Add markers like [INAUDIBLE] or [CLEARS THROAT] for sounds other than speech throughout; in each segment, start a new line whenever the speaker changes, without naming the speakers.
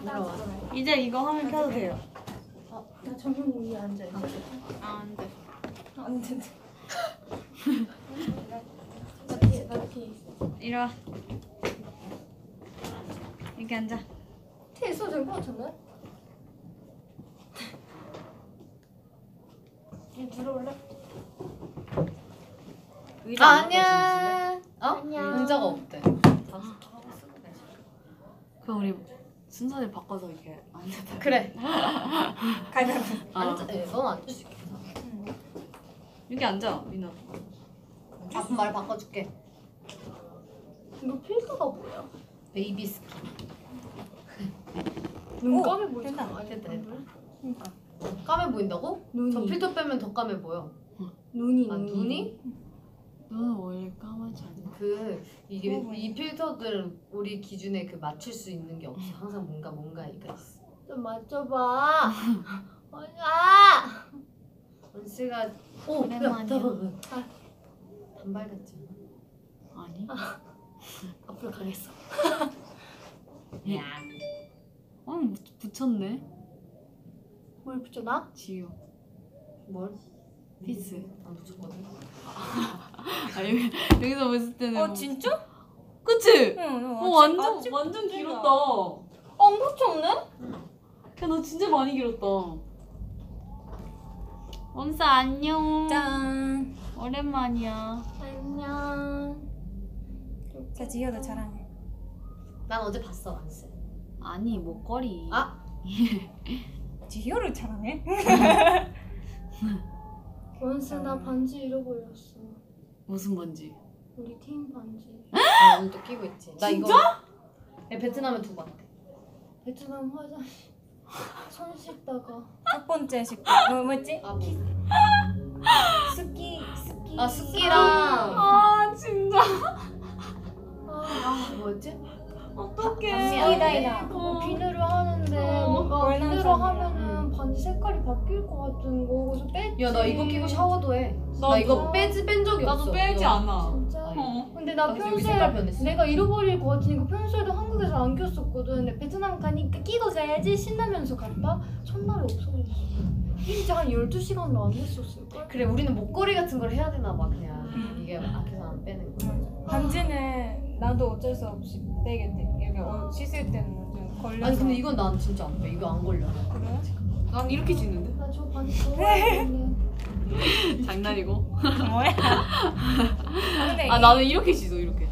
부러워.
이제 이거 화면 켜도 돼요.
어,
나 전문 위에 앉아 있어.
아, 안 돼.
안 돼. 나 뒤에 나 뒤에 있어.
이리 와. 여기 앉아.
뒤에 있어 저기 꽂혔나? 이 들어올래?
의자
아,
안 바꿔주시네.
아니야. 어?
안녕.
의자가 없대.
그럼 우리 순서를 바꿔서 이렇게 앉아다.
그래.
가위바위보.
앉아. 예, 너는 앉을 수 있겠다.
여기 앉아, 민아.
아, 그럼 말 바꿔줄게.
너 필터가 뭐야?
베이비 스킨.
눈
어,
까매 보이잖아.
됐다, 됐다.
그러니까
까매 보인다고?
눈이
저 필터 빼면 더 까매 보여.
눈이
아, 눈이?
너는 원래 까마지 않아?
그 이게
어,
이 필터들은 우리 기준에 그 맞출 수 있는 게 없어. 항상 뭔가 뭔가가 있어.
좀 맞춰봐. 아니야.
원씨가 오,
오랜만이야.
잠깐만. 아, 단발 같지 않아?
아니.
어,
앞으로 가겠어.
야. 어, 뭐, 붙였네.
뭘 붙여놔?
지우.
뭘?
피스.
안 붙였거든.
아, 여기, 여기서 봤을 때는.
어, 음.
뭐-
아, 진짜?
그치?
응. 응.
어,
아직-
완전,
아직 어,
완전
붙이나.
길었다.
안 붙였네?
야, 너 진짜 많이 길었다. 엄사, 안녕.
짠.
오랜만이야.
안녕. 자 지효도 자랑해.
난 어제 봤어, 원씨.
아니, 목걸이.
아.
지효를 자랑해? 원스 나 반지 잃어버렸어.
무슨 반지?
우리 팀 반지.
아, 오늘 또 끼고 있지. 나 이거. 네, 베트남에 두 번.
베트남 화장실 손 씻다가 첫 번째 식구
어,
뭐, 뭐였지?
아, 뭐.
스키 스키
아, 스키랑.
아, 진짜.
아, 뭐였지?
어떡해.
반미야.
아, 스키다이다
어.
비누를 하는데
어,
뭔가
월남
비누를
사람이야.
하면은 반지 색깔이 바뀔 것 같은 거 그래서 뺐지
야, 나 이거 끼고 샤워도 해. 나,
나도-
이거 빼지 뺀 적이
나도
없어.
빼지
이거.
않아.
진짜?
어.
근데 나
나도 여기 색깔
평소에
변했어.
내가 잃어버릴 것 같으니까 평소에도 한국에서 안 꼈었거든 근데 베트남 가니까 끼고 가야지 신나면서 갔다 첫날에 없어졌어 진짜 한 12시간도 안 했었을 걸?
그래, 우리는 목걸이 같은 걸 해야 되나 봐, 그냥. 이게 앞에서 안 빼는 거.
반지는 나도 어쩔 수 없이 빼게 돼. 이게 어, 씻을 때는 좀 걸려서.
아니, 근데 이건 난 진짜 안 빼. 이거 안 걸려.
그래?
난 이렇게 짓는데? [LAUGHS]
나 저 반지 좋아했는데
장난이고.
[LAUGHS] 뭐야? 근데
아,
이-
나는 이렇게 짓어, 이렇게.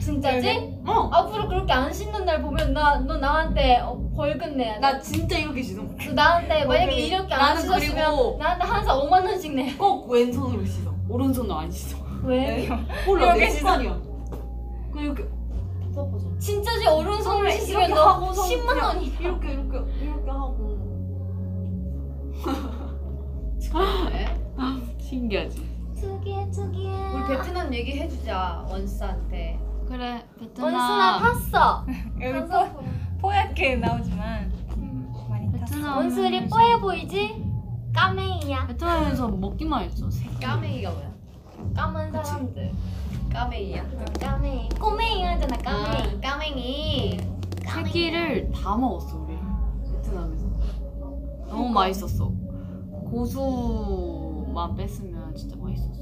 진짜지? 네,
어.
앞으로 그렇게 안 씻는 날 보면 나 너 나한테 어, 벌금내. 나
나 진짜 이렇게 짓어.
너 나한테 만약에
벌금.
이렇게 안
나는
씻었으면
그리고- 네.
나한테 항상 5만 원씩 내.
꼭 왼손으로 씻어. 오른손으로 안 씻어. [LAUGHS]
왜?
몰라, 내
이렇게 씻어.
습관이야. 그 이렇게
섭섭하죠.
진짜지 오른손으로
이렇게
씻으면 너
하고서
10만
그냥
원이.
이렇게 이렇게 이렇게 하고.
네.
신기하지.
특이해 특이해.
우리 베트남 얘기해주자, 원스한테.
그래,
원순아 탔어.
여기 뭐? 포, 포얗게 나오지만
음.
많이 탔어.
원순이 뽀해 보이지? 까메이야.
베트남에서 먹기만 했어.
까메이가 뭐야?
까만
그
사람들.
까메이야.
까메이. 꼬메이 하잖아 까메이.
아, 까맹이.
세 끼를 다 먹었어 우리 베트남에서. 너무 맛있었어. 고수만 뺐으면 진짜 맛있었어.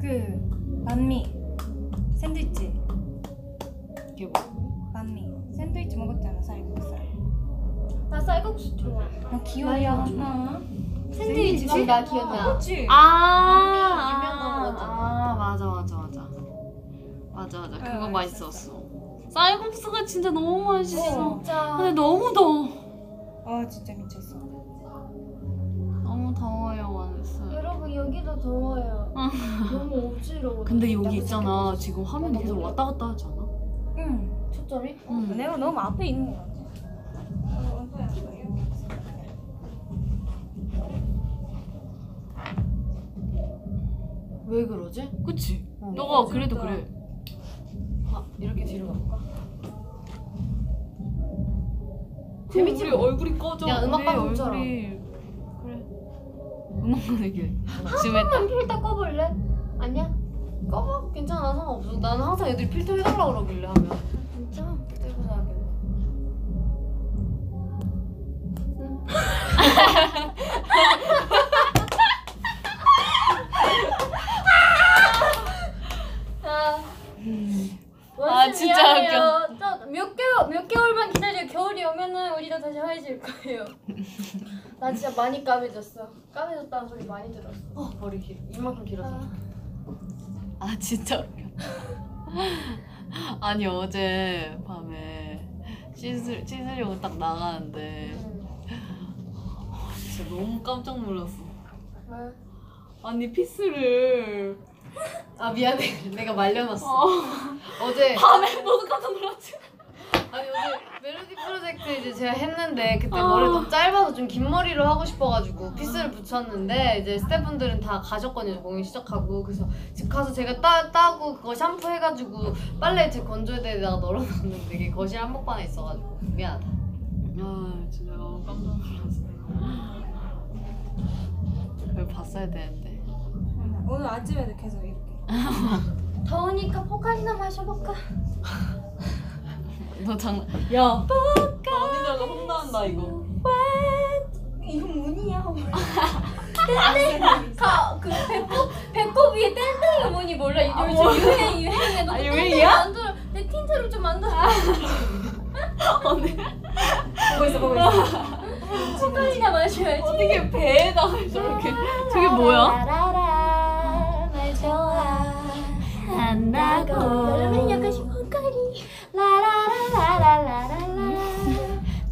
그 반미 샌드위치
이게 뭐?
반미 샌드위치 먹었잖아 쌀국수.
나 쌀국수 좋아.
나 기억이
나야.
안 나.
샌드위치 집나 기억나.
어. 그렇지.
아,
유명한 거
아,
먹었잖아.
아 맞아 맞아 맞아. 맞아 맞아
네,
그거
맛있었어.
맛있었어. 쌀국수가 진짜 너무 맛있어.
진짜.
근데 너무 더워.
아 진짜 미쳤어.
너무 더워요 원스.
여러분 여기도 더워요. 너무 어지러워.
근데 여기 있잖아 지금 화면 계속 왔다 갔다 하지 않아?
응.
초점이?
응.
내가 너무 앞에 있는 것 같아.
왜 그러지?
그치?
응.
너가 그래도 그래.
아, 이렇게 뒤로 가볼까?
재밌지? 우리 얼굴이 꺼져.
야, 음악
우리
방송처럼.
얼굴이 그래. 음악하는 게. [LAUGHS] 지금
한번 필터 꺼볼래? 아니야?
꺼봐. 괜찮아, 상관없어. 나는 항상 애들이 필터 해달라 그러길래 하면.
진짜?
해보자.
아, 진짜
저몇 개월 몇 개월만 기다려 겨울이 오면은 우리도 다시 화해질 거예요. 나 진짜 많이 까매졌어. 까매졌다는 소리 많이 들었어.
어, 머리 길 이만큼 길어서.
아 진짜 웃겨. [LAUGHS] 아니 어제 밤에 씻을 씻으려고 딱 나가는데 아,
음.
진짜 너무 깜짝 놀랐어.
왜?
아니 피스를
아 미안해 [LAUGHS] 내가 말려놨어
[LAUGHS]
어제
밤에 보고 깜짝 놀랐지.
아니 어제 멜로디 프로젝트 이제 제가 했는데 그때
어.
머리 너무 짧아서 좀 긴 머리로 하고 싶어가지고 피스를 붙였는데 이제 스태프분들은 다 가셨거든요 공연 시작하고 그래서 집 가서 제가 따, 따고 그거 샴푸 해가지고 빨래 제 건조대에다가 널어놨는데 이게 거실 한복판에 있어가지고 미안하다
아 진짜 너무 깜짝 놀랐어. 그걸 봤어야 되는데.
오늘 아침에도 계속 이렇게.
더우니까 포카리나 마셔볼까?
너 장난. 야. 언니들가 혼난다 이거.
이거 뭐냐? 땡땡. 그 배꼽 배꼽 위에 땡땡이 뭐니 몰라. 이게 요즘 유행 유행에 너무
아,
땡땡이
유행이야?
만들어. 내 틴트로 좀 만들어.
언니
보고 있어 보고 있어.
포카리나 마셔야지.
어떻게 배에다가 저렇게 저게 뭐야?
라라라, 날 좋아한다고. 여러분 약간씩 포카리. 라라라라라라라.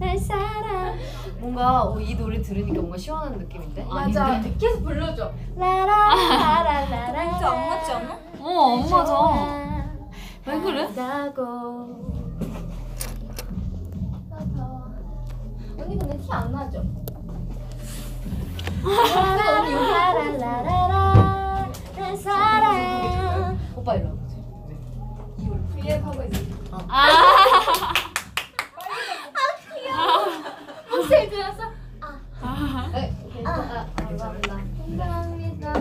날 사랑.
뭔가 어, 이 노래 들으니까 뭔가 시원한 느낌인데?
맞아.
계속 불러줘.
라라라라라라.
진짜 안 맞지 않아?
어 엄마죠. 왜 그래?
나고. 언니 근데 티 안 나죠? 라라라라라라 내 사랑
오빠 일로 와보세요
위에 하고 있어.
아.
목소리 들었어?
네, 괜찮아. 아, 괜찮아.
감사합니다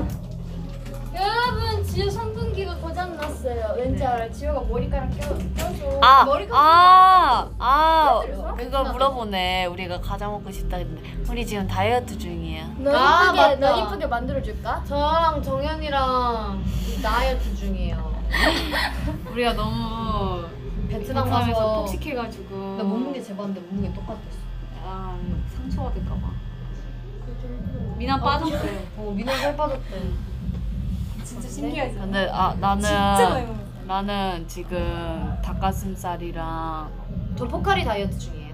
여러분 지효 선풍기가 고장났어요 왠지 알아요 지효가 머리카락 껴, 껴줘
아,
머리카락
아, 아,
그래서?
이거 물어보네. 우리가 과자 먹고 싶다 했는데 우리 지금 다이어트 중이야.
너
아,
이쁘게 너
맞다.
이쁘게 만들어줄까?
저랑 정연이랑 다이어트 중이에요.
우리가 너무
베트남 가서
폭식해가지고
나 몸무게 재봤는데 몸무게 똑같았어.
아, 상처받을까봐. 미나 빠졌대.
어, 민호 살 빠졌대.
진짜 신기하지.
근데 아 나는
진짜 많이 먹었어.
나는 지금 닭가슴살이랑
저 포카리 다이어트 중이에요.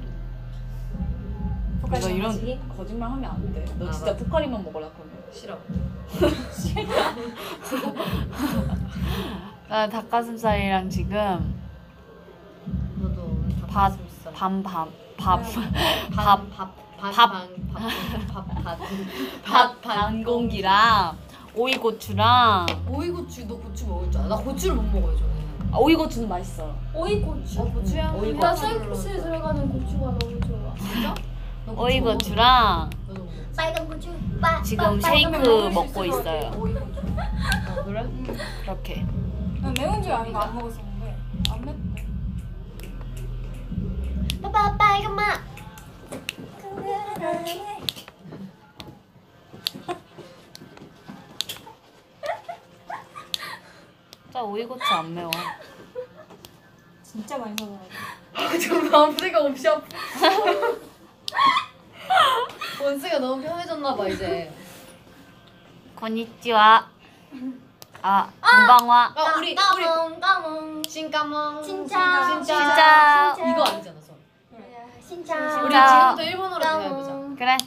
너 이런 거짓말 하면 안 돼. 너
아,
진짜
맞아.
포카리만 먹으라 그러면. [LAUGHS]
싫어.
나 닭가슴살이랑 지금
너도 오늘 밥
밥,
먹을 수 있어.
네. [LAUGHS] 밤밤밥
밥, 밥,
밥.
밥, 방, 밥, 밥, 밥,
밥 반공기랑 오이고추랑
오이고추, 너 고추 먹을 줄 알아? 나 고추를 못 먹어요, 저는.
아, 오이고추는 맛있어요.
오이 고추
어, 고추야? 오이고추.
나 생크스에 들어가는 고추가 너무 좋아
너 고추
오이고추랑
먹어? 너도 먹어.
빨간 고추 빠,
지금
빠, 빨간
쉐이크
고추.
먹고 있어요.
아, 그래?
이렇게.
난 매운 줄 아는 거안 먹었었는데 안 맵다.
빠빠 빨간 맛
짜 오이고추 안 매워.
진짜 많이 먹어가지고.
지금 아무 생각 없이 아파. 원스가 너무 편해졌나봐, 이제.
[LAUGHS] 고니찌와. 아, 건방와.
아, 우리, 우리.
까몽 까몽
진까멍.
진짜
진짜.
이거 아니잖아, 저.
진짜
우리
진짜.
지금부터 일본어로 대화해보자.
까몽
그래.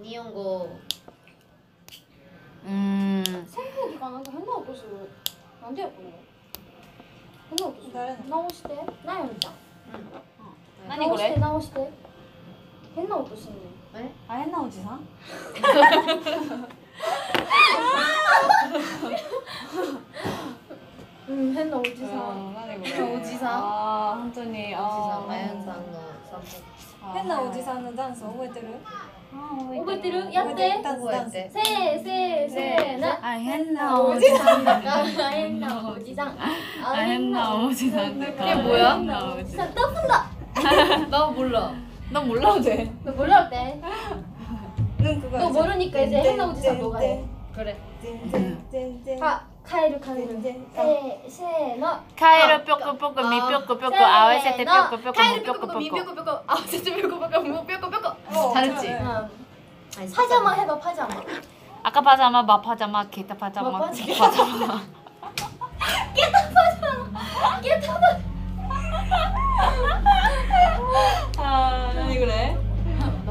니온고
음.
선풍기가 나한테 한나 없어서 안 돼요 보여 한나 없어서
나는
나오시대 나 연장
아니 그래.
나오시대 했나 없어서
아 했나 오지상?
응 했나 어디서
오지상
아 혼전이
오지상
아
마현상과 삼성
맨날 어디 사는 단서 오해 들을.
오버티르 야떼
후보했대
네. 세세세나
아 했나 오지상.
했나 어디상
아 했나 아, 오지상.
그게 뭐야?
했나 오지상.
진짜 떠푼다
나 몰라
난 몰라도 돼.
너 몰라 어때
넌 그거
너 모르니까 이제 해나 오지사 너가 해.
그래.
찐찐찐찐찐
아, 가이루 가이루.
네. 어,
세, 세, 너.
카이로 뾰꾸 뾰꾸 미 뾰꾸 뾰꾸 아와세 테 뾰꾸 뾰꾸 미 뾰꾸 뾰꾸
뾰꼬 아 진짜 뾰꼬 뾰꼬 무 뾰꼬 뾰꼬
어,
잘했지?
음. 파자마 해봐 파자마.
아까 파자마 마 파자마 게타 파자마
마파자마.
기 파자마
아, 그래? 아,
이거래, 나
나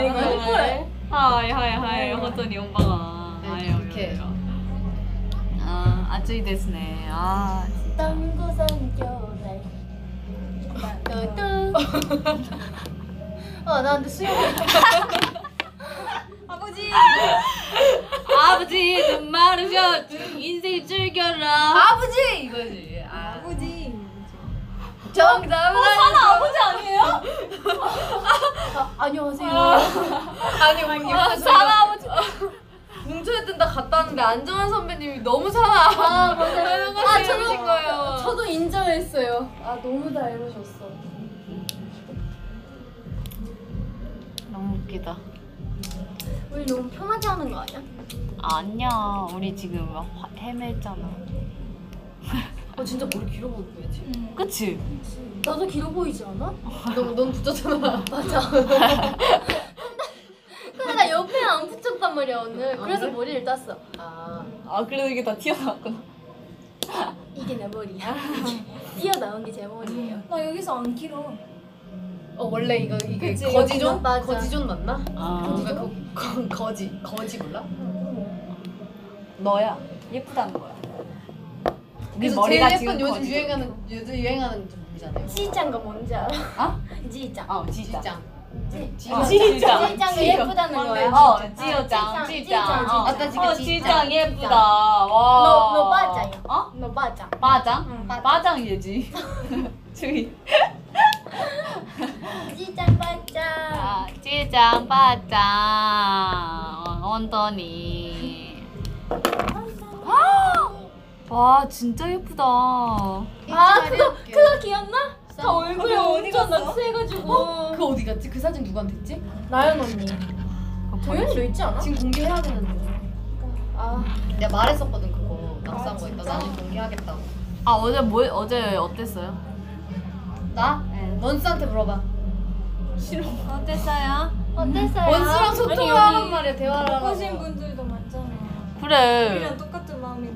이거래.
이거래.
하이 하이 하이 호전이 온방아
네,
아이,
이렇게.
어려워요. 아 아쯔이 데스네 아
땅고산 겨울에. 뚜뚜. 어, 나 근데 수영.
아버지
아버지 좀 마르셔 인생 즐겨라
아버지 이거지. 어? 아.
아버지
정답은
아, 안녕하세요.
아니 우리 사나 아버지 뭉쳐야 된다 갔다 왔는데 안정환 선배님이 너무 사나 아 맞아요 아 저러신 거예요
저도 인정했어요. 아, 너무 닮으셨어.
너무 웃기다
우리 너무 편하게 하는 거 아니야?
아니야 우리 지금 막 화- 헤맸잖아
어 진짜 머리 길어 보일 거야 지금
그치?
나도 길어 보이지 않아?
너무 너무 붙였잖아
근데 나 옆에 안 붙였단 말이야 오늘. 그래서 머리를 땄어.
아
아, 그래도 이게 다 튀어나왔구나.
이게 내 머리야. 튀어나온 게 제 머리예요.
나 여기서 안 길어
어, 원래 이거 이게
그치,
거지존
여기는 맞아.
거지존 맞나?
아
거지존 그, 거, 거지 거지 몰라?
너야. 예쁘다는 거야. 네
그래서 제일 예쁜
지금
요즘
거지.
유행하는 요즘 유행하는 종이잖아요.
지짱가 뭔지 알아?
아?
지짱.
어, 지짜.
지짱.
어,
아, 지짱.
지짜.
지짱이 예쁘다는 거야.
어, 지어짱,
아,
지짱.
지짱,
어,
지짱.
어, 지짱 예쁘다. 와.
너- 너 빠짱이야.
어?
너 맞아.
빠장? 빠장 예지. 저기.
지짱 맞아.
아, [LAUGHS] 찌장 빠짱 언더니
어?
와 진짜 예쁘다
아 그거 그거 기억나? 다
그거
얼굴에 엄청 납치해가지고.
그거 어디 갔지? 그 사진 누구한테 있지?
나연 언니. 도연이도 있지 않아?
지금 공개해야 되는데.
아
내가 말했었거든 그거 낙서한 거 있다.
진짜?
나는 공개하겠다고.
아 어제 뭐 어제 어땠어요?
나? 네, 원스한테 물어봐.
어땠어요?
어땠어요?
원스랑 소통을 하란 말이야 대화를 하라고.
바꾸신 분들도 많잖아
그래
우리랑 똑같은 마음이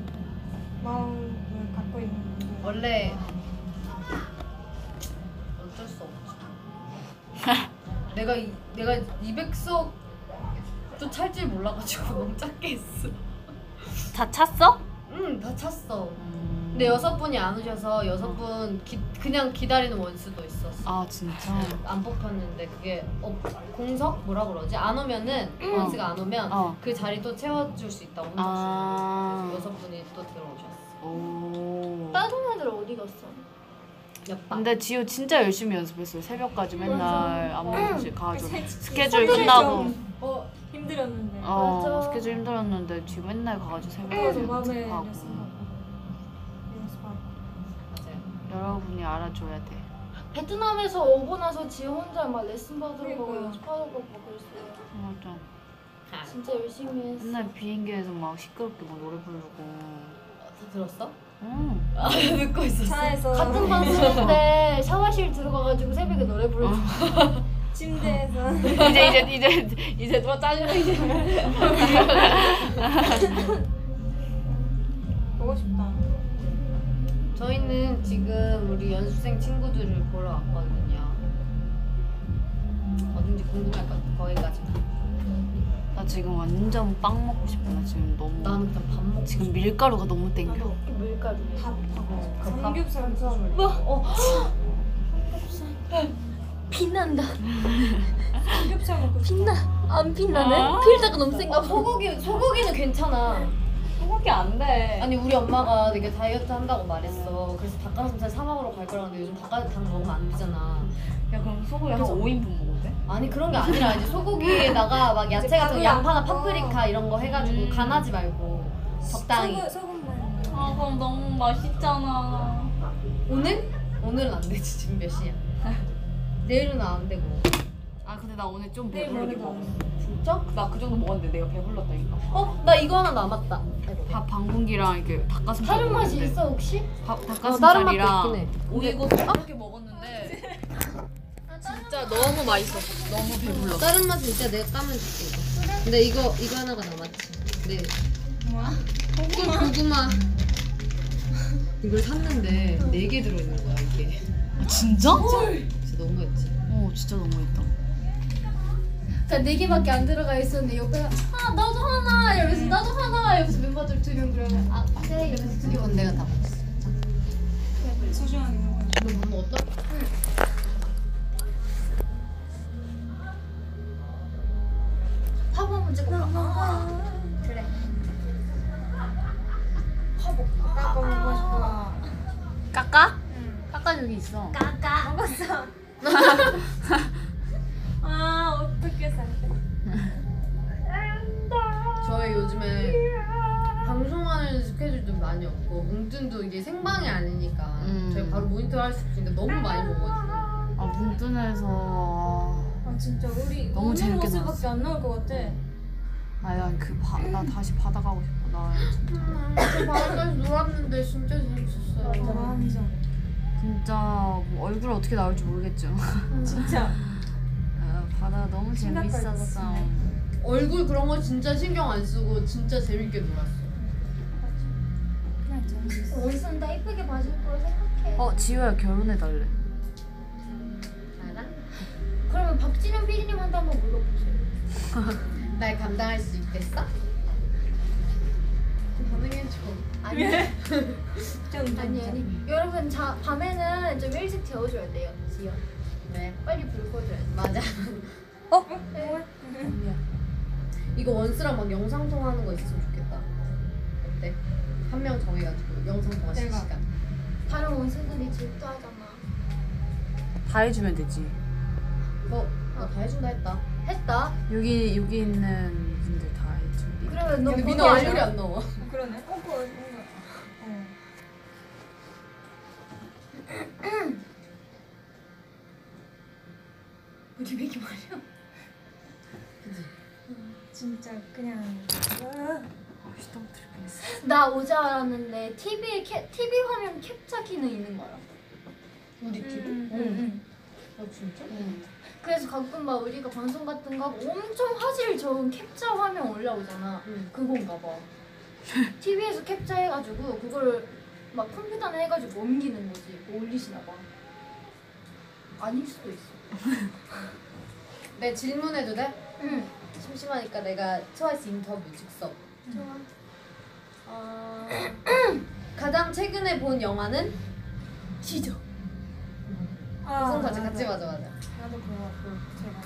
마음을 갖고 있는 분들
원래 어쩔 수 없지. 내가 이, 내가 200석도 찰줄 몰라가지고 [LAUGHS] 너무 작게 했어.
다 찼어?
응, 다 찼어.
네,
근데 여섯 분이 안 오셔서 여섯 분 기, 그냥 기다리는 원수도 있었어.
아 진짜
안 뽑혔는데 그게 어, 공석 뭐라 그러지? 안 오면은
음.
원수가 안 오면
어.
그 자리 또 채워줄 수 있다고 혼자
아.
그래서 여섯 분이 또 들어오셨어.
오
다른 애들 어디 갔어?
옆방.
근데 지효 진짜 열심히 연습했어요 새벽까지 맨날 안무 연습실 가가지고 스케줄
성격이
끝나고
좀, 어 힘들었는데
어
맞아.
스케줄 힘들었는데 지효 맨날 가가지고
그래서
새벽까지
마음에
연습하고
연습하고 연습하고
맞아요.
여러분이 알아줘야 돼
베트남에서 오고 나서 지 혼자 막 레슨 받으러 가고
그러니까요.
연습하러 가고 그랬어요.
맞아
진짜 열심히 했어.
맨날 비행기에서 막 시끄럽게 막 노래 부르고
다 들었어? [LAUGHS]
음.
아 듣고 있었어.
차에서
같은 반 쓰는데 샤워실 들어가가지고 새벽에 노래 부르고
침대에서 [LAUGHS]
이제 이제 이제 이제 누가 짜증나 이제
보고 싶다
저희는 지금 우리 연습생 친구들을 보러 왔거든요. 어딘지 궁금할 것 같아. 거기까지.
나 지금 완전 빵 먹고 싶어 나 지금 너무
나는 그냥 밥 먹고.
지금 밀가루가 너무 땡겨
나도
물가루.
밥하고
밥.
삼겹살 좋아하고
뭐? 어.
아. 빛난다.
삼겹살 먹고 싶어
빛나. 안 빛나네?
아.
필다가 너무 센가 봐.
소고기 소고기는 괜찮아.
소고기 안 돼.
아니 우리 엄마가 되게 다이어트 한다고 말했어. 그래서 닭가슴살 사 먹으러 갈 거라는데 요즘 닭가슴살 먹으면 안 되잖아.
야 그럼 소고기 한
그래서-
5인분 먹어도 돼?
아니 그런 게 아니라 이제 [LAUGHS] 소고기에다가 막 야채 같은
밥을
양파나
안 먹어.
파프리카 이런 거 해가지고
음.
간하지 말고 적당히.
소금 소금만
아, 그럼 너무 맛있잖아.
[LAUGHS] 오늘? 오늘은 안 되지 지금 몇 시야? 내일은 안 되고. 아
아 근데 나 오늘 좀
내
배부르게
머리도
먹었어.
진짜? 나 그 정도 먹었는데 내가 배불렀다니까.
어? 나 이거 하나 남았다. 아,
밥 반공기랑 이렇게 닭가슴살.
다른 맛이
먹었는데
있어 혹시?
밥
다른 맛도
닭가슴살이랑
있긴 해. 어?
오이고수 이렇게 먹었는데
진짜 너무 맛있었어. 너무 배불러.
다른 맛은 진짜 내가 까면 줄게. 이거. 근데 이거 이거 하나가 남았지. 네. 뭐야? 고구마. 고구마. 이걸 샀는데 네 개 들어있는 거야 이게.
아, 진짜?
진짜 너무했지.
어 진짜 너무했다.
그러니까 네 개밖에 안 들어가 있었는데 옆에 아 나도 하나 이러면서 나도 하나 이러면서 멤버들 두 명 그러면 아세 네! 이러면서 두 명.
이건 내가 다 먹었어.
소중하게 먹어요.
너못 먹었다?
화보 문제 꼭 봐. 그래.
나 먹고 싶어.
까까? 까까 여기 있어.
까까.
먹었어. 아 어떻게 살까?
저희 요즘에 방송하는 스케줄도 많이 없고 뭉뜬도 이게 생방이 아니니까
음.
저희 바로 모니터 할 수 있으니까 너무 많이 먹어가지고
아 문뜬에서
아 진짜 우리
너무
웃는
재밌게
모습밖에 안 나올 것 같아.
아난그나 다시 바다 가고 싶어. 나
아, 저 밤까지 놀았는데 진짜 재밌었어요
완전.
진짜 뭐 얼굴 어떻게 나올지 모르겠죠.
진짜.
아, 바다 너무
신날 거
재밌었어.
있었네.
얼굴 그런 거 진짜 신경 안 쓰고 진짜 재밌게 놀았어
그냥 재밌었어.
옷은 다 이쁘게 봐줄 걸 생각해.
어 지효야 결혼해 달래.
나랑
그러면 박진영 PD님한테 한번 물어보세요.
날 감당할 수 있겠어? 가능해줘
아니
좀
아니 아니. 여러분 자 밤에는 좀 일찍 재워줘야 돼요. 지연.
네
빨리 불 꺼줘야 돼.
맞아 어?
네.
이거 원스랑 막 영상 통화하는 거 있으면 좋겠다 어때? 한 명 정해가지고 영상 통화
대박.
실시간
다른 원수들이 질투하잖아.
다 해주면 되지.
어? 나다 해준다 했다
했다.
여기 여기 있는 분들 다 해줘.
그러면 너
근데 민호
거기 알아?
얼굴이 안 나와
그러네. 어, 그거 얼굴. 어.
우리 왜 이렇게 말이야?
진짜 그냥. 으,
나 오자 알았는데 TV에 캐, TV 화면 캡처 기능 있는 거야.
우리 기도?
음, 음.
아 진짜?
그래서 가끔 막 우리가 방송 같은 거 하고 엄청 화질 좋은 캡처 화면 올라오잖아.
응.
그건가 봐. [LAUGHS] TV에서 캡처해가지고 그걸 막 컴퓨터나 해가지고 옮기는 거지. 뭐 올리시나 봐. 아닐 수도 있어.
내 질문해도 돼?
응.
심심하니까 내가 아, 트와이스 인터뷰 즉석.
좋아.
어...
아.
[CLEARS THROAT] 가장 최근에 본 영화는
지저.
아,
우선 같이
맞아.
같이 맞아 맞아.
나도 그거 제가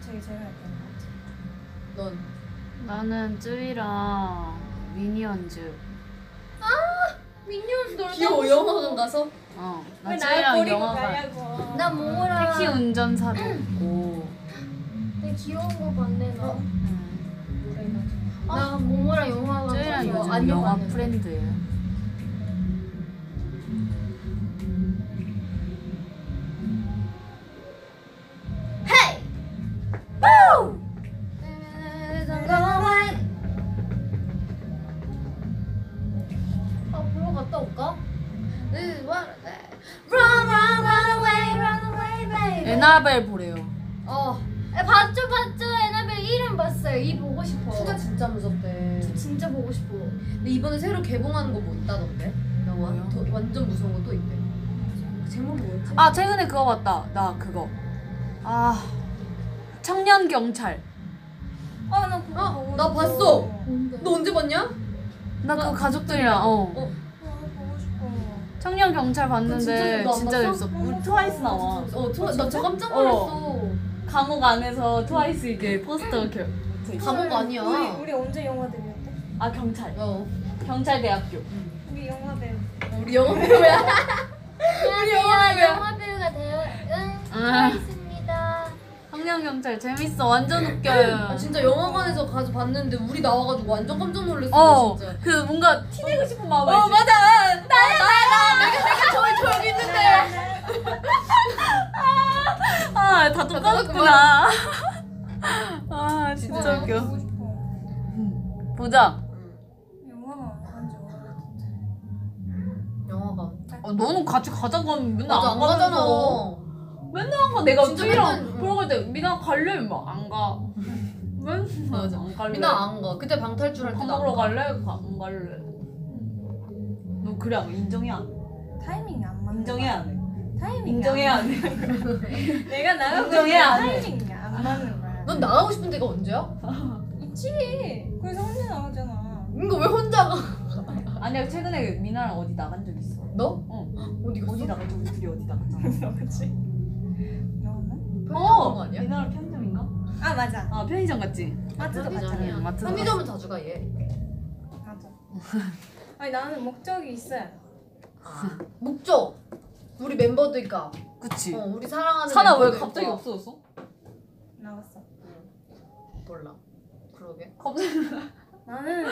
저기 제가 했던 거 같아.
넌
나는 쯔위랑 미니언즈.
미니언스 놀다.
기호 영화관 가서
어. 나
왜 나를
쯔위랑
버리고
영화관.
가냐고.
나
아,
모모랑
택시 운전사도 있고.
내 귀여운 거 봤네 나.
어.
음.
나 모모랑 영화
쯔위랑
어,
가서
요즘
안녕
영화
봤는데.
프렌드예요.
아 보러 갔다 올까? 네,
This is what-
Run, run, run away, run away, baby.
에나벨 보래요.
어
아, 봤죠, 봤죠. 에나벨 이름 봤어요. 이 보고 싶어.
투가 진짜 무섭대.
진짜 보고 싶어.
근데 이번에 새로 개봉하는 거 뭐 있다던데? 영화
뭐요?
더, 완전 무서운 거 또 있대. 제목이 뭐였지?
아 최근에 그거 봤다. 나 그거. 아 청년 경찰.
아, 나 그거 보고
나
싶어.
봤어.
뭔데?
너 언제 봤냐?
나 그거 가족들이랑 어.
어.
어, 보고 싶어.
청년 경찰 봤는데
진짜
진짜
재밌어.
재밌어.
우리
트와이스 나와.
어, 저, 나저 깜짝
어.
놀랐어.
감옥 안에서 트와이스 이게 포스터 겨.
감옥 아니야. [LAUGHS]
우리, 우리 언제 영화 데뷔했대?
아 경찰.
어.
경찰대학교.
우리 영화 배우.
우리 영화 배우야.
안녕하세요. 영화 배우가 되은
아.
있습니다.
청년 경찰 재밌어. 완전 웃겨요.
아 진짜 영화관에서 가서 봤는데 우리 나와가지고 완전 깜짝 놀랐어
어.
진짜.
그 뭔가
티내고 싶은 마음
어
알지?
맞아. 나야 나야. 아, 내가 내가 저기 저기 있는데. 아다 아, 똑같구나. 남자.
영화가 완전 오래됐어.
영화관.
어, 너는 같이 가자고 하면 맨날
맞아
안
안
가잖아.
가잖아.
항상 내가
진짜
쭈이랑
맨날-
보러 갈 때 미나 갈래? 막 안 가. 맨날
맞아.
안 갈래.
미나 안 가. 그때 방탈출 할
밥
때도 안
먹으러
가.
갈래? 가- 안 갈래. 너 그래 안 인정이 안 돼.
타이밍이 안 맞는
인정해야 안 돼.
거야. 타이밍이
인정해야
안
안 돼. [LAUGHS]
맞- 내가 나가고
인정해야
있는
안 해.
타이밍이 안 맞는 거야.
넌 나가고 싶은 데가 언제야?
있지. 그래서 혼자 나가잖아.
이거 왜 혼자 가?
아니야 최근에 미나랑 어디 나간 적 있어.
너?
응.
어디 갔어?
어디 나간 적 우리 둘이 어디 나갔잖아.
그렇지. 너는?
편의점 거 아니야?
미나랑 편의점인가?
아 맞아.
아 편의점 갔지.
마트도
편의점이야.
갔잖아.
응, 마트도
편의점은 자주 가 얘.
맞아. 아니 나는 목적이 있어야. 돼.
아, 목적. 우리
갔-
멤버들과
그치.
어, 우리 사랑하는 뭐
사나 왜
멤버들과.
갑자기 없어졌어?
나갔어.
몰라. 그러게.
갑자기
나는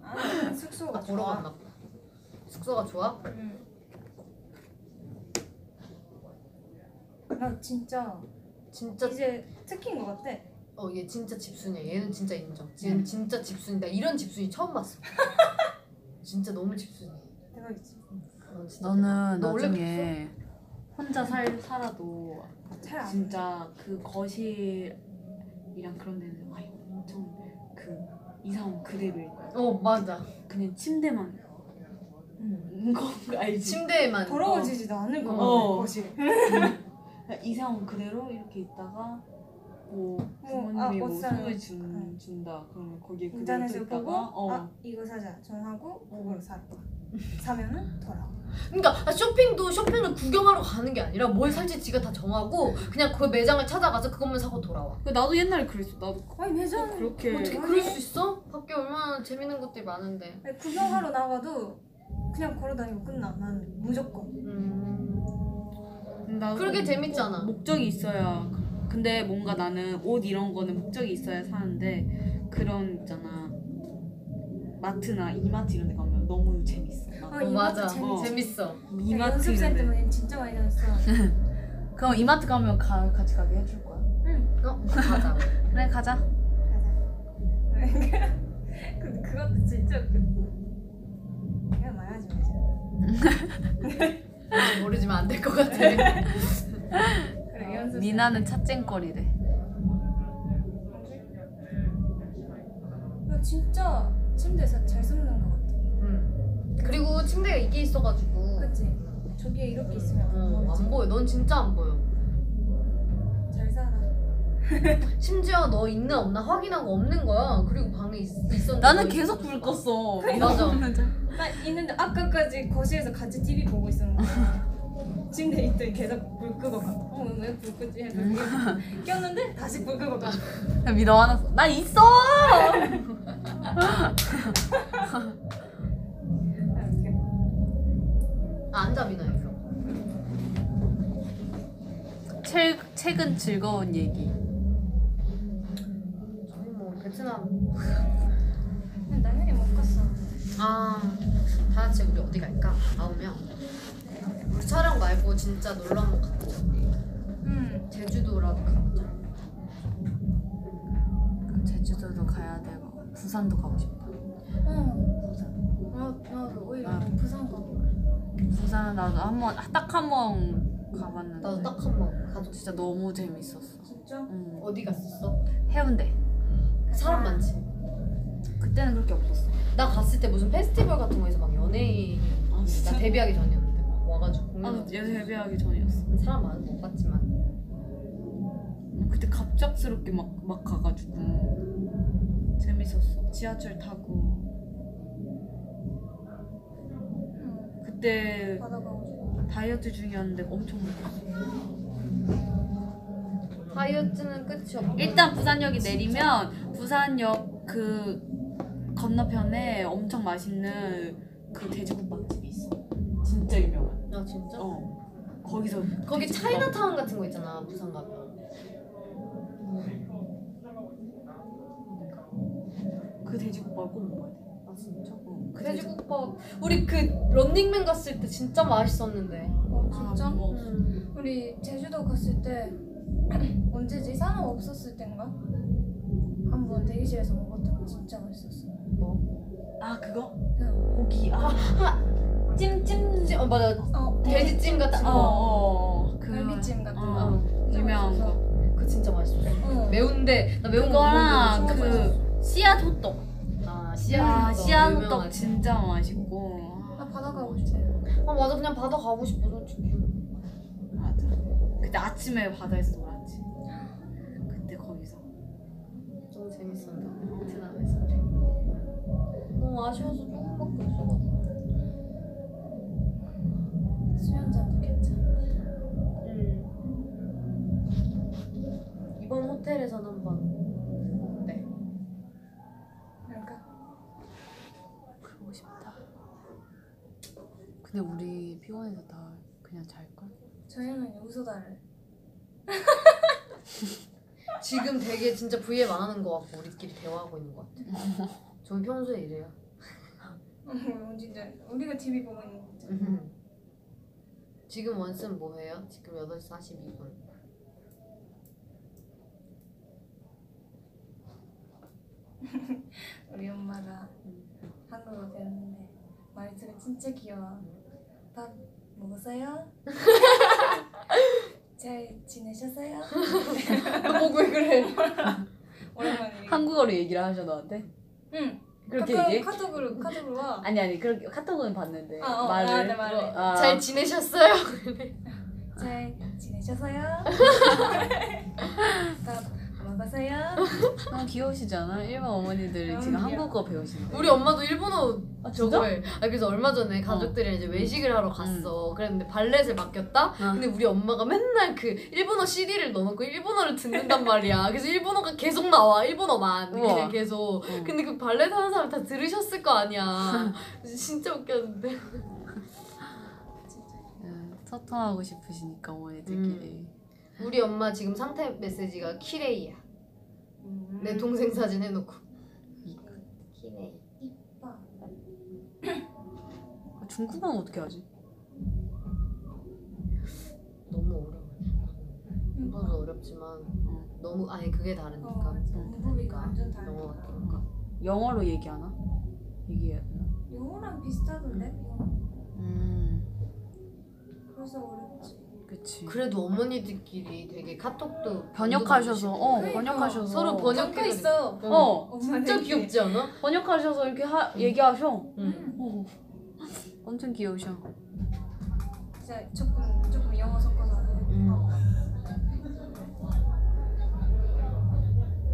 나는 숙소가
나 보러
좋아.
갔나 봐. 숙소가 좋아?
응. 나 진짜
진짜
이제 특히인 것 같아.
어 얘 진짜 집순이야. 얘는 진짜 인정. 지금 진짜 집순이다. 이런 집순이 처음 봤어. 진짜 너무 집순이.
대박이지.
넌 진짜
너는
너 원래
나중에
혼자 살 살아도
잘안
진짜
네.
그 거실이랑 그런 데는 아예 엄청 그 이상 그대로
어 맞아.
그냥 침대만
음.
거 알지?
침대에만
더러워지지도 않을 것 같아.
어.
거실.
이상 그대로 이렇게 있다가 뭐
뭐, 아,
부모님이 뭐
옷사요.
선물 준,
응.
준다 그러면 거기에 그대로 또
인터넷을 보고
있다가 어.
아 이거 사자 전하고 목으로 사. 사면은 돌아.
그러니까 쇼핑도 쇼핑을 구경하러 가는 게 아니라 뭘 살지 지가 다 정하고 그냥 그 매장을 찾아가서 그것만 사고 돌아와.
근데 나도 옛날에 그랬어 나도
아니 매장
그렇게
어떻게 그럴 수 있어? 밖에 얼마나 재밌는 것들이 많은데.
아니, 구경하러 나가도 그냥 걸어다니고 끝나. 나는 무조건.
음.
나도
그렇게 재밌잖아.
목적이 있어야 근데 뭔가 나는 옷 이런 거는 목적이 있어야 사는데 그런 있잖아 마트나 이마트 이런 데 가면 너무 재밌어 나
아
어,
이것도
맞아.
재밌어.
재밌어.
야,
이마트
연습생
이런 데
때문에 진짜 많이
[LAUGHS]
다녔어. [LAUGHS]
그럼 이마트 가면 가, 같이 가게 해줄 거야?
어 가자.
그래 가자
가자. 그 그것도 진짜 웃겼어. 그냥 말하지 마자.
모르지만 안 될 것 같아.
네. 어,
그래 연습생.
미나는 찻쟁거리래.
나 어, 진짜 침대에서 잘 숨는 것 같아.
음. 그리고 침대가 이게 있어가지고
그치? 저기에 이렇게 있으면 안
어, 안
보이지.
보여. 넌 진짜 안 보여.
잘 살아.
심지어 너 있나 없나 확인하고 없는 거야. 그리고 방에 있, 있었는데
나는
어, 너
계속
있었나
불
봐.
껐어
맞아.
나 있는데 아까까지 거실에서 같이 TV 보고 있었는데 침대에 있더니 계속 불 끄고 가. 어왜불 끄지? 해서
[LAUGHS]
꼈는데 다시 불 끄고
아.
가.
미나 화났어 나 있어
이렇게.
아, 앉아 미나 이거.
최, 최근 즐거운 얘기.
저희 뭐 베트남.
근데 당연히 못 갔어.
아다 같이 우리 어디 갈까? 나오면 우리 촬영 말고 진짜 놀러 한번 가보자.
응.
제주도라도 가보자.
제주도도 가야 되고 부산도 가고 싶다.
어. 나 나도 오히려
아.
부산 가고.
부산 나도 한번딱한번 가봤는데
나도 딱 한 번 가족.
진짜 너무 재밌었어.
진짜?
응.
어디 갔었어?
해운대.
사람 많지.
그때는 그렇게 없었어.
나 갔을 때 무슨 페스티벌 같은 거에서 막 연예인
아 진짜?
나 데뷔하기 전이었는데 막 와가지고 공연.
아얘 데뷔하기 전이었어
사람 많은데 못 봤지만.
그때 갑작스럽게 막, 막 가가지고 재밌었어 지하철 타고
응.
그때
바다 가고 싶어.
다이어트 중이었는데 엄청 먹었어
다이어트는 끝이 없고.
일단 부산역에 내리면 부산역 그 건너편에 엄청 맛있는 그 돼지국밥집이 있어 진짜 유명한
아 진짜?
어 거기서
거기 차이나타운 같은 거 있잖아 부산 가면
그 돼지국밥 꼭 먹어야 돼
아 진짜?
어, 그 돼지-
돼지국밥 우리 그 런닝맨 갔을 때 진짜 맛있었는데
어 진짜?
아, 뭐.
음.
우리 제주도 갔을 때 [CLEARS THROAT] 언제지? 산업 없었을 땐가? 한번 대기실에서 먹었던 거 진짜 맛있었어.
뭐?
아 그거?
응.
고기 아
찜찜
어 맞아
어
돼지찜 같은
어어어
거
그
갈비찜 같은 거.
어, 유명한 거 네.
그거 진짜 맛있어
어.
매운데 나 매운
그거랑
거
그 씨앗 호떡
아
아
씨앗
씨앗 호떡 진짜 맛있고
나 바다 가고 싶어.
아 맞아 그냥 바다 가고 싶어 솔직히
맞아. 그때 아침에 바다에서 놀았지. 그때 거기서.
너무 재밌었다 베트남에서
너무 아쉬워서 조금밖에 없어가지고. 수영장도 괜찮아.
이번 호텔에선 한번 네.
그러니까
그러고 싶다. 근데 우리 피곤해서 다 그냥 잘걸?
저희는 여기서다를. [LAUGHS]
지금 되게 진짜 V앱 안 하는 것 같고 우리끼리 대화하고 있는 것 같아 저는 평소에 이래요
어, 진짜 우리가 TV 보고 있는 거. 진짜.
지금 원쌤 뭐 해요? 지금 8시 42분
우리 엄마가 한국어 배웠는데 말투가 진짜 귀여워. 밥 먹었어요? [LAUGHS] 잘
[LAUGHS]
지내셨어요?
보고 왜 그래
[LAUGHS] 오랜만에.
한국어로 얘기를 하셔 너한테?
응.
그렇게
카톡,
얘기해?
카톡으로 카톡으로 와.
아니 아니 그렇게 카톡은 봤는데
아, 어,
말을
아, 네, 말을.
아,
잘 지내셨어요?
잘
[LAUGHS]
지내셨어요? 밥 먹었어요?
[LAUGHS] 너무 귀여우시잖아 일반 어머니들이
너무
지금
귀여워.
한국어 배우시는
우리 엄마도 일본어
아
저걸 아 그래서 얼마 전에 가족들이랑 이제 외식을 하러 갔어. 그랬는데 발렛을 맡겼다. 근데 우리 엄마가 맨날 그 일본어 CD를 넣어놓고 일본어를 듣는단 말이야. 그래서 일본어가 계속 나와. 일본어만
우와.
그냥 계속.
어.
근데 그 발렛 하는 사람 다 들으셨을 거 [LAUGHS] 아니야. 진짜 웃겼는데.
음, 소통하고 싶으시니까 어머니들끼리
우리 엄마 지금 상태 메시지가 키레이야. 내 동생 사진 해놓고. 음. 키레이.
아, 중국어는 어떻게 하지?
너무 어려워. 일본어 어렵지만 너무 아예 그게 다르니까. 그러니까
어, 문법이 완전
영어
다르다.
같은 거.
영어로 얘기하나? 얘기해야 되나?
영어랑 비슷하던데? 영어.
음
그래서 어렵지.
그치
그래도 어머니들끼리 되게 카톡도
번역하셔서 어
그러니까.
번역하셔서
서로 번역-
적혀 있어.
어
진짜 귀엽지 않아?
번역하셔서 이렇게 하, 얘기하셔.
응.
어. 엄청 귀여우셔.
진짜 조금 조금 영어 섞어서 하는.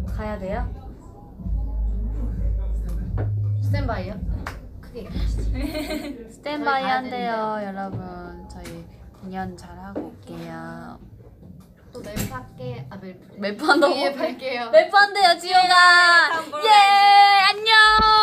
가야 돼요?
스탠바이야?
음.
크게 얘기하시지.
스탠바이
가야
한대요, 여러분. 저희 공연 잘 하고 올게요.
또 멜파께 아 멜프
멜프 한다고?
예, 팔게요.
네, 멜프 한대요, 지효가. 예, 안녕.